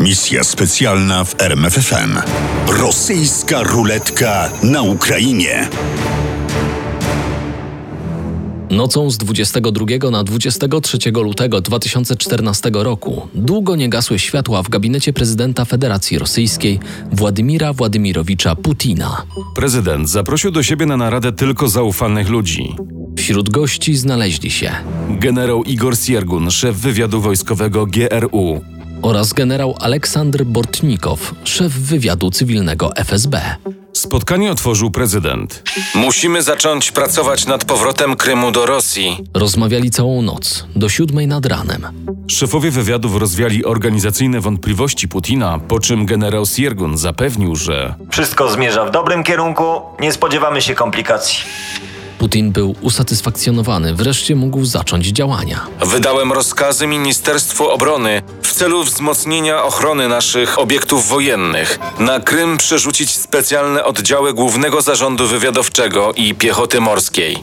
Misja specjalna w RMFFM. Rosyjska ruletka na Ukrainie. Nocą z 22 na 23 lutego 2014 roku długo nie gasły światła w gabinecie prezydenta Federacji Rosyjskiej Władimira Władimirowicza Putina. Prezydent zaprosił do siebie na naradę tylko zaufanych ludzi. Wśród gości znaleźli się Generał Igor Siergun, szef wywiadu wojskowego GRU, oraz generał Aleksandr Bortnikow, szef wywiadu cywilnego FSB. Spotkanie otworzył prezydent. Musimy zacząć pracować nad powrotem Krymu do Rosji. Rozmawiali całą noc, do siódmej nad ranem. Szefowie wywiadów rozwiali organizacyjne wątpliwości Putina, po czym generał Siergun zapewnił, że Wszystko zmierza w dobrym kierunku, nie spodziewamy się komplikacji. Putin był usatysfakcjonowany, wreszcie mógł zacząć działania. Wydałem rozkazy Ministerstwu Obrony w celu wzmocnienia ochrony naszych obiektów wojennych. Na Krym przerzucić specjalne oddziały Głównego Zarządu Wywiadowczego i Piechoty Morskiej.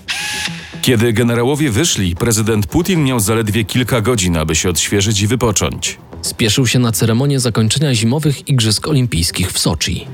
kiedy generałowie wyszli, prezydent Putin miał zaledwie kilka godzin, aby się odświeżyć i wypocząć. Spieszył się na ceremonię zakończenia zimowych Igrzysk Olimpijskich w Soczi.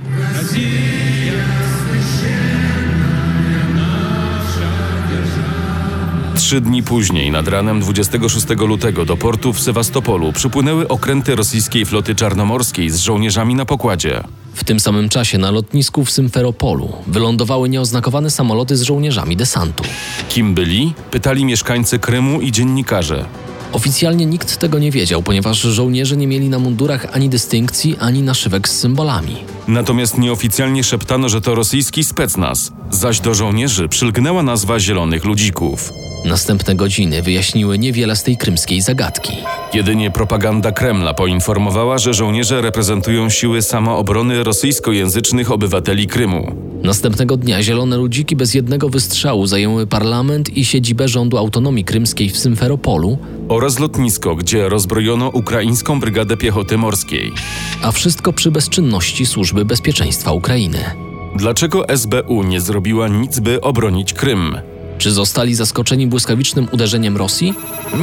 Trzy dni później, nad ranem 26 lutego, do portu w Sewastopolu przypłynęły okręty rosyjskiej floty czarnomorskiej z żołnierzami na pokładzie. W tym samym czasie na lotnisku w Symferopolu wylądowały nieoznakowane samoloty z żołnierzami desantu. Kim byli? Pytali mieszkańcy Krymu i dziennikarze. Oficjalnie nikt tego nie wiedział, ponieważ żołnierze nie mieli na mundurach ani dystynkcji, ani naszywek z symbolami. Natomiast nieoficjalnie szeptano, że to rosyjski specnaz, zaś do żołnierzy przylgnęła nazwa Zielonych Ludzików. Następne godziny wyjaśniły niewiele z tej krymskiej zagadki. Jedynie propaganda Kremla poinformowała, że żołnierze reprezentują siły samoobrony rosyjskojęzycznych obywateli Krymu. Następnego dnia zielone ludziki bez jednego wystrzału zajęły parlament i siedzibę rządu autonomii krymskiej w Symferopolu, Oraz lotnisko, gdzie rozbrojono ukraińską brygadę piechoty morskiej. a wszystko przy bezczynności Służby Bezpieczeństwa Ukrainy. Dlaczego SBU nie zrobiła nic, by obronić Krym? Czy zostali zaskoczeni błyskawicznym uderzeniem Rosji?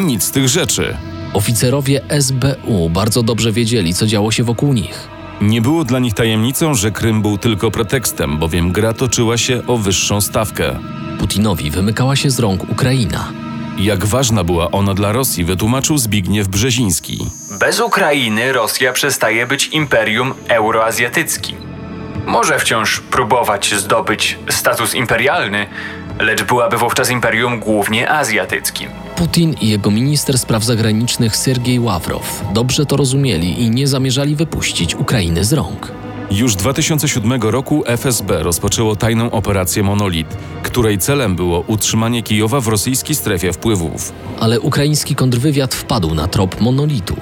Nic z tych rzeczy. Oficerowie SBU bardzo dobrze wiedzieli, co działo się wokół nich. Nie było dla nich tajemnicą, że Krym był tylko pretekstem, bowiem gra toczyła się o wyższą stawkę. Putinowi wymykała się z rąk Ukraina. Jak ważna była ona dla Rosji, wytłumaczył Zbigniew Brzeziński. Bez Ukrainy Rosja przestaje być imperium euroazjatyckim. Może wciąż próbować zdobyć status imperialny, lecz byłaby wówczas imperium głównie azjatyckim. Putin i jego minister spraw zagranicznych Sergiej Ławrow dobrze to rozumieli i nie zamierzali wypuścić Ukrainy z rąk. Już 2007 roku FSB rozpoczęło tajną operację Monolit, której celem było utrzymanie Kijowa w rosyjskiej strefie wpływów. Ale ukraiński kontrwywiad wpadł na trop monolitu.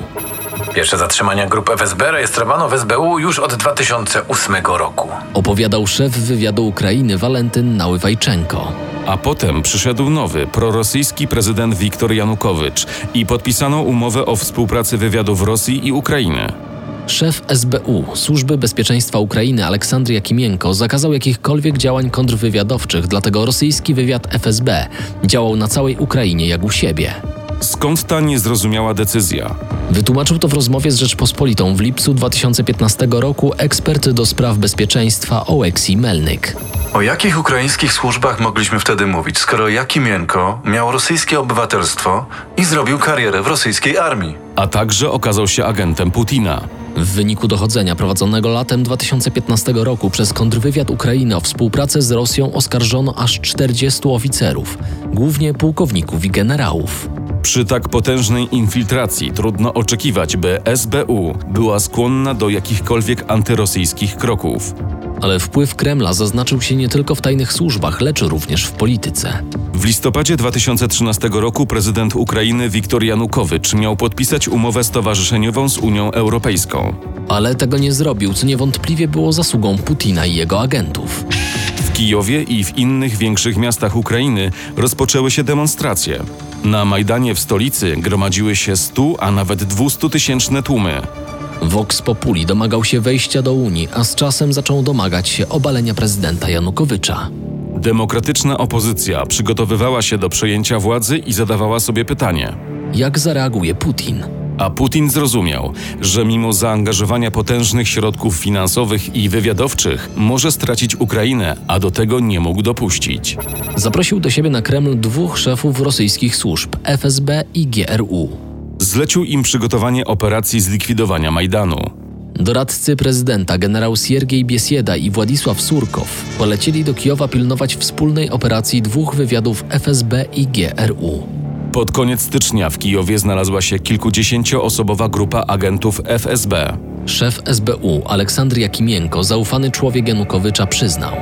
Pierwsze zatrzymania grup FSB rejestrowano w SBU już od 2008 roku. Opowiadał szef wywiadu Ukrainy Walentyn Naływajczenko. A potem przyszedł nowy, prorosyjski prezydent Wiktor Janukowycz i podpisano umowę o współpracy wywiadów Rosji i Ukrainy. Szef SBU Służby Bezpieczeństwa Ukrainy Aleksandr Jakimienko zakazał jakichkolwiek działań kontrwywiadowczych, dlatego rosyjski wywiad FSB działał na całej Ukrainie jak u siebie. Skąd ta niezrozumiała decyzja? Wytłumaczył to w rozmowie z Rzeczpospolitą w lipcu 2015 roku ekspert do spraw bezpieczeństwa Oleksij Melnyk. O jakich ukraińskich służbach mogliśmy wtedy mówić, skoro Jakimienko miał rosyjskie obywatelstwo i zrobił karierę w rosyjskiej armii? A także okazał się agentem Putina. W wyniku dochodzenia prowadzonego latem 2015 roku przez kontrwywiad Ukrainy o współpracę z Rosją oskarżono aż 40 oficerów, głównie pułkowników i generałów. Przy tak potężnej infiltracji trudno oczekiwać, by SBU była skłonna do jakichkolwiek antyrosyjskich kroków. Ale wpływ Kremla zaznaczył się nie tylko w tajnych służbach, lecz również w polityce. W listopadzie 2013 roku prezydent Ukrainy Wiktor Janukowycz miał podpisać umowę stowarzyszeniową z Unią Europejską. Ale tego nie zrobił, co niewątpliwie było zasługą Putina i jego agentów. W Kijowie i w innych większych miastach Ukrainy rozpoczęły się demonstracje. Na Majdanie w stolicy gromadziły się 100, a nawet 200 tysięczne tłumy. Vox Populi domagał się wejścia do Unii, a z czasem zaczął domagać się obalenia prezydenta Janukowycza. Demokratyczna opozycja przygotowywała się do przejęcia władzy i zadawała sobie pytanie: Jak zareaguje Putin? a Putin zrozumiał, że mimo zaangażowania potężnych środków finansowych i wywiadowczych może stracić Ukrainę, a do tego nie mógł dopuścić. Zaprosił do siebie na Kreml dwóch szefów rosyjskich służb FSB i GRU. Zlecił im przygotowanie operacji zlikwidowania Majdanu. Doradcy prezydenta generał Siergiej Biesieda i Władysław Surkow polecieli do Kijowa pilnować wspólnej operacji dwóch wywiadów FSB i GRU. Pod koniec stycznia w Kijowie znalazła się kilkudziesięcioosobowa grupa agentów FSB. Szef SBU Aleksander Jakimienko, zaufany człowiek Janukowycza, przyznał.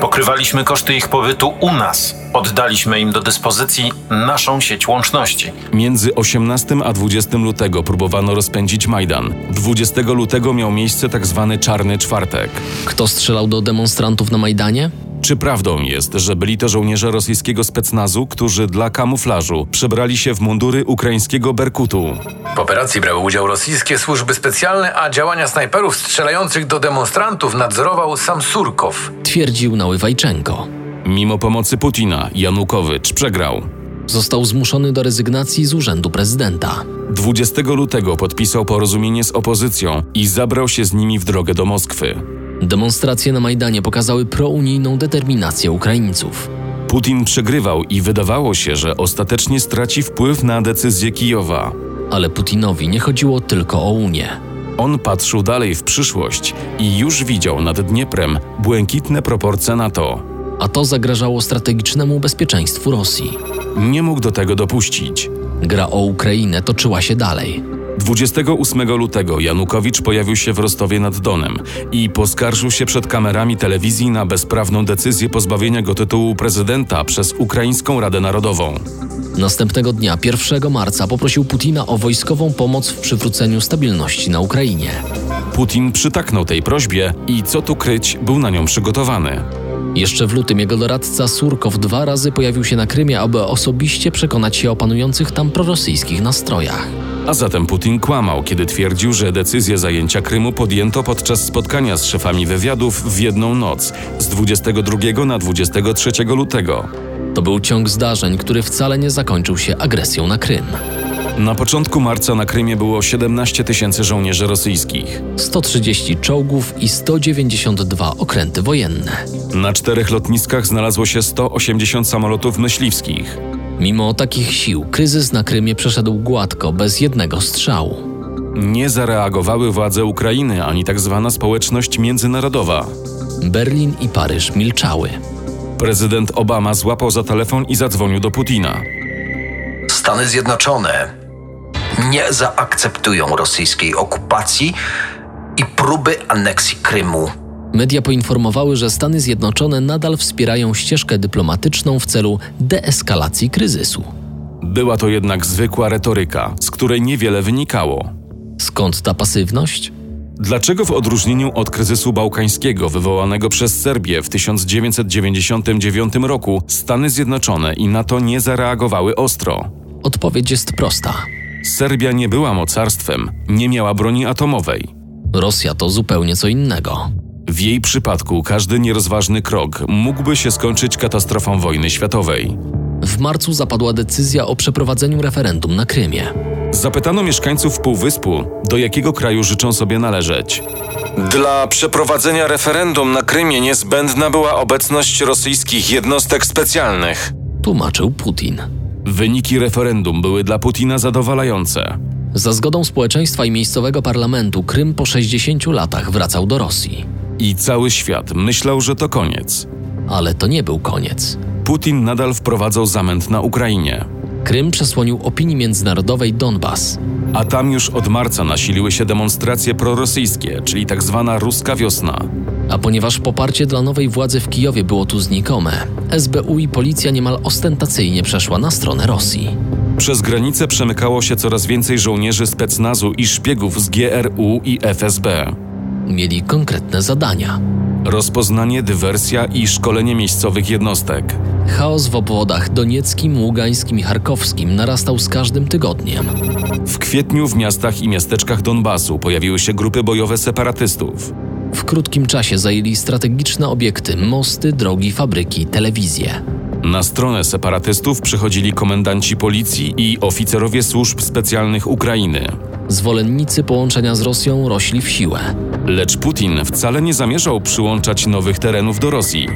Pokrywaliśmy koszty ich pobytu u nas. Oddaliśmy im do dyspozycji naszą sieć łączności. Między 18 a 20 lutego próbowano rozpędzić Majdan. 20 lutego miał miejsce tzw. Czarny Czwartek. Kto strzelał do demonstrantów na Majdanie? Czy prawdą jest, że byli to żołnierze rosyjskiego specnazu, którzy dla kamuflażu przebrali się w mundury ukraińskiego Berkutu? W operacji brały udział rosyjskie służby specjalne, a działania snajperów strzelających do demonstrantów nadzorował sam Surkow. Twierdził Naływajczenko. Mimo pomocy Putina, Janukowycz przegrał. Został zmuszony do rezygnacji z urzędu prezydenta. 20 lutego podpisał porozumienie z opozycją i zabrał się z nimi w drogę do Moskwy. Demonstracje na Majdanie pokazały prounijną determinację Ukraińców. Putin przegrywał i wydawało się, że ostatecznie straci wpływ na decyzję Kijowa. Ale Putinowi nie chodziło tylko o Unię. On patrzył dalej w przyszłość i już widział nad Dnieprem błękitne proporcje NATO. A to zagrażało strategicznemu bezpieczeństwu Rosji. Nie mógł do tego dopuścić. Gra o Ukrainę toczyła się dalej. 28 lutego Janukowicz pojawił się w Rostowie nad Donem i poskarżył się przed kamerami telewizji na bezprawną decyzję pozbawienia go tytułu prezydenta przez Ukraińską Radę Narodową. Następnego dnia, 1 marca, poprosił Putina o wojskową pomoc w przywróceniu stabilności na Ukrainie. Putin przytaknął tej prośbie i co tu kryć, był na nią przygotowany. Jeszcze w lutym jego doradca Surkow dwa razy pojawił się na Krymie, aby osobiście przekonać się o panujących tam prorosyjskich nastrojach. A zatem Putin kłamał, kiedy twierdził, że decyzję zajęcia Krymu podjęto podczas spotkania z szefami wywiadów w jedną noc z 22 na 23 lutego. To był ciąg zdarzeń, który wcale nie zakończył się agresją na Krym. Na początku marca na Krymie było 17 tysięcy żołnierzy rosyjskich. 130 czołgów i 192 okręty wojenne. Na czterech lotniskach znalazło się 180 samolotów myśliwskich. Mimo takich sił, kryzys na Krymie przeszedł gładko, bez jednego strzału. Nie zareagowały władze Ukrainy ani tak zwana społeczność międzynarodowa. Berlin i Paryż milczały. Prezydent Obama złapał za telefon i zadzwonił do Putina. Stany Zjednoczone nie zaakceptują rosyjskiej okupacji i próby aneksji Krymu. Media poinformowały, że Stany Zjednoczone nadal wspierają ścieżkę dyplomatyczną w celu deeskalacji kryzysu. Była to jednak zwykła retoryka, z której niewiele wynikało. Skąd ta pasywność? Dlaczego w odróżnieniu od kryzysu bałkańskiego wywołanego przez Serbię w 1999 roku Stany Zjednoczone i NATO nie zareagowały ostro? Odpowiedź jest prosta. Serbia nie była mocarstwem, nie miała broni atomowej. Rosja to zupełnie co innego. W jej przypadku każdy nierozważny krok mógłby się skończyć katastrofą wojny światowej. W marcu zapadła decyzja o przeprowadzeniu referendum na Krymie. Zapytano mieszkańców Półwyspu, do jakiego kraju życzą sobie należeć. Dla przeprowadzenia referendum na Krymie niezbędna była obecność rosyjskich jednostek specjalnych. Tłumaczył Putin. Wyniki referendum były dla Putina zadowalające. Za zgodą społeczeństwa i miejscowego parlamentu Krym po 60 latach wracał do Rosji. I cały świat myślał, że to koniec. Ale to nie był koniec. Putin nadal wprowadzał zamęt na Ukrainie. Krym przesłonił opinii międzynarodowej Donbas. A tam już od marca nasiliły się demonstracje prorosyjskie, czyli tak zwana ruska wiosna. A ponieważ poparcie dla nowej władzy w Kijowie było tu znikome, SBU i policja niemal ostentacyjnie przeszła na stronę Rosji. Przez granicę przemykało się coraz więcej żołnierzy specnazu i szpiegów z GRU i FSB. Mieli konkretne zadania. Rozpoznanie, dywersja i szkolenie miejscowych jednostek. Chaos w obwodach donieckim, ługańskim i charkowskim narastał z każdym tygodniem. W kwietniu w miastach i miasteczkach Donbasu pojawiły się grupy bojowe separatystów. W krótkim czasie zajęli strategiczne obiekty, mosty, drogi, fabryki, telewizję. Na stronę separatystów przychodzili komendanci policji i oficerowie służb specjalnych Ukrainy. Zwolennicy połączenia z Rosją rośli w siłę. Lecz Putin wcale nie zamierzał przyłączać nowych terenów do Rosji.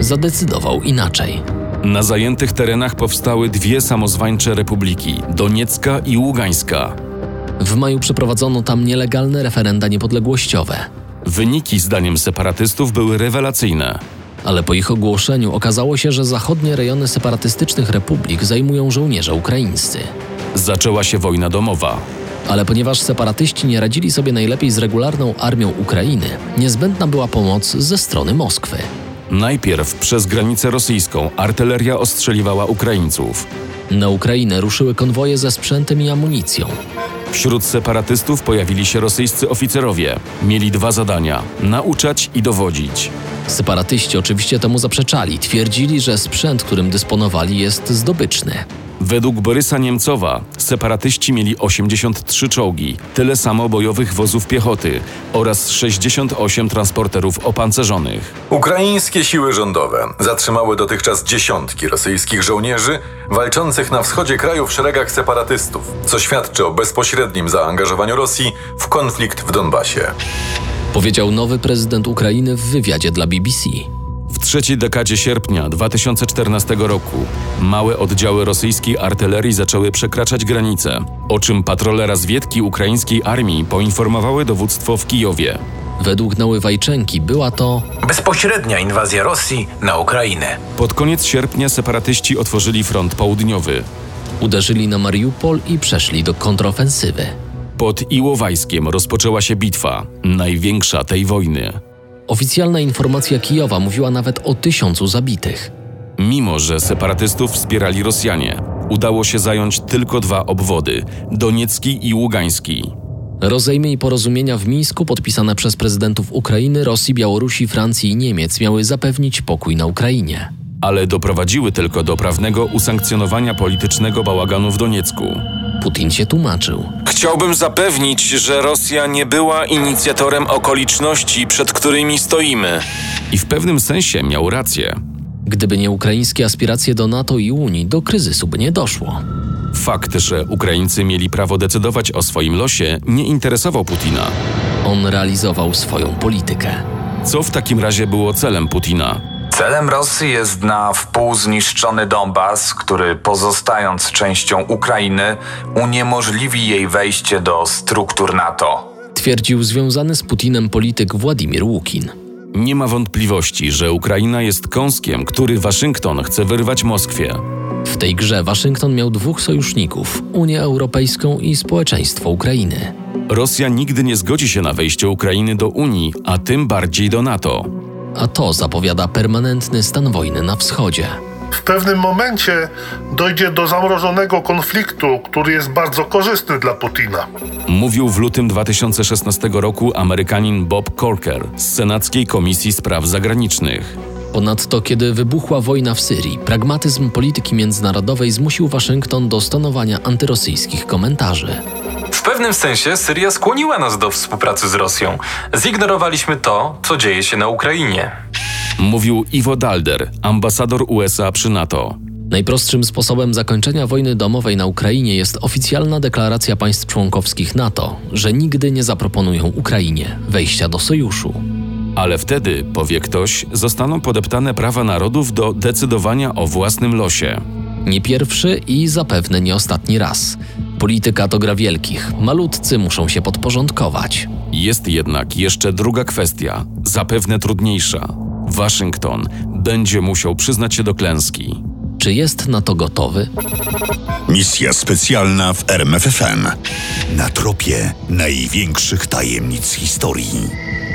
Zadecydował inaczej. Na zajętych terenach powstały dwie samozwańcze republiki Doniecka i Ługańska. W maju przeprowadzono tam nielegalne referenda niepodległościowe, Wyniki, zdaniem separatystów, były rewelacyjne. ale po ich ogłoszeniu okazało się, że zachodnie rejony separatystycznych republik zajmują żołnierze ukraińscy. Zaczęła się wojna domowa. Ale ponieważ separatyści nie radzili sobie najlepiej z regularną armią Ukrainy, niezbędna była pomoc ze strony Moskwy. Najpierw przez granicę rosyjską artyleria ostrzeliwała Ukraińców. Na Ukrainę ruszyły konwoje ze sprzętem i amunicją. Wśród separatystów pojawili się rosyjscy oficerowie. Mieli dwa zadania: nauczać i dowodzić. Separatyści oczywiście temu zaprzeczali, twierdzili, że sprzęt, którym dysponowali, jest zdobyczny. Według Borysa Niemcowa separatyści mieli 83 czołgi, tyle samo bojowych wozów piechoty oraz 68 transporterów opancerzonych. Ukraińskie siły rządowe zatrzymały dotychczas dziesiątki rosyjskich żołnierzy walczących na wschodzie kraju w szeregach separatystów, co świadczy o bezpośrednim zaangażowaniu Rosji w konflikt w Donbasie. Powiedział nowy prezydent Ukrainy w wywiadzie dla BBC. W trzeciej dekadzie sierpnia 2014 roku małe oddziały rosyjskiej artylerii zaczęły przekraczać granice, o czym patrole razwiedki ukraińskiej armii poinformowały dowództwo w Kijowie. Według Naływajczenki była to Bezpośrednia inwazja Rosji na Ukrainę. Pod koniec sierpnia separatyści otworzyli front południowy. uderzyli na Mariupol i przeszli do kontrofensywy. Pod Iłowajskiem rozpoczęła się bitwa, największa tej wojny. Oficjalna informacja Kijowa mówiła nawet o tysiącu zabitych. Mimo, że separatystów wspierali Rosjanie, udało się zająć tylko dwa obwody Doniecki i Ługański. Rozejmy i porozumienia w Mińsku podpisane przez prezydentów Ukrainy, Rosji, Białorusi, Francji i Niemiec miały zapewnić pokój na Ukrainie. ale doprowadziły tylko do prawnego usankcjonowania politycznego bałaganu w Doniecku. Putin się tłumaczył. Chciałbym zapewnić, że Rosja nie była inicjatorem okoliczności, przed którymi stoimy. I w pewnym sensie miał rację. Gdyby nie ukraińskie aspiracje do NATO i Unii, do kryzysu by nie doszło. Fakt, że Ukraińcy mieli prawo decydować o swoim losie, nie interesował Putina. On realizował swoją politykę. Co w takim razie było celem Putina? Celem Rosji jest na wpół zniszczony Donbas, który pozostając częścią Ukrainy uniemożliwi jej wejście do struktur NATO. Twierdził związany z Putinem polityk Władimir Łukin. Nie ma wątpliwości, że Ukraina jest kąskiem, który Waszyngton chce wyrwać Moskwie. W tej grze Waszyngton miał dwóch sojuszników Unię Europejską i społeczeństwo Ukrainy. Rosja nigdy nie zgodzi się na wejście Ukrainy do Unii, a tym bardziej do NATO. A to zapowiada permanentny stan wojny na wschodzie. W pewnym momencie dojdzie do zamrożonego konfliktu, który jest bardzo korzystny dla Putina. Mówił w lutym 2016 roku Amerykanin Bob Corker z Senackiej Komisji Spraw Zagranicznych. Ponadto, kiedy wybuchła wojna w Syrii, pragmatyzm polityki międzynarodowej zmusił Waszyngton do stonowania antyrosyjskich komentarzy. W pewnym sensie Syria skłoniła nas do współpracy z Rosją. Zignorowaliśmy to, co dzieje się na Ukrainie. Mówił Ivo Dalder, ambasador USA przy NATO. Najprostszym sposobem zakończenia wojny domowej na Ukrainie jest oficjalna deklaracja państw członkowskich NATO, że nigdy nie zaproponują Ukrainie wejścia do sojuszu. Ale wtedy, powie ktoś, zostaną podeptane prawa narodów do decydowania o własnym losie. Nie pierwszy i zapewne nie ostatni raz. Polityka to gra wielkich, malutcy muszą się podporządkować. Jest jednak jeszcze druga kwestia, zapewne trudniejsza. Waszyngton będzie musiał przyznać się do klęski. Czy jest na to gotowy? Misja specjalna w RMFFM. Na tropie największych tajemnic historii.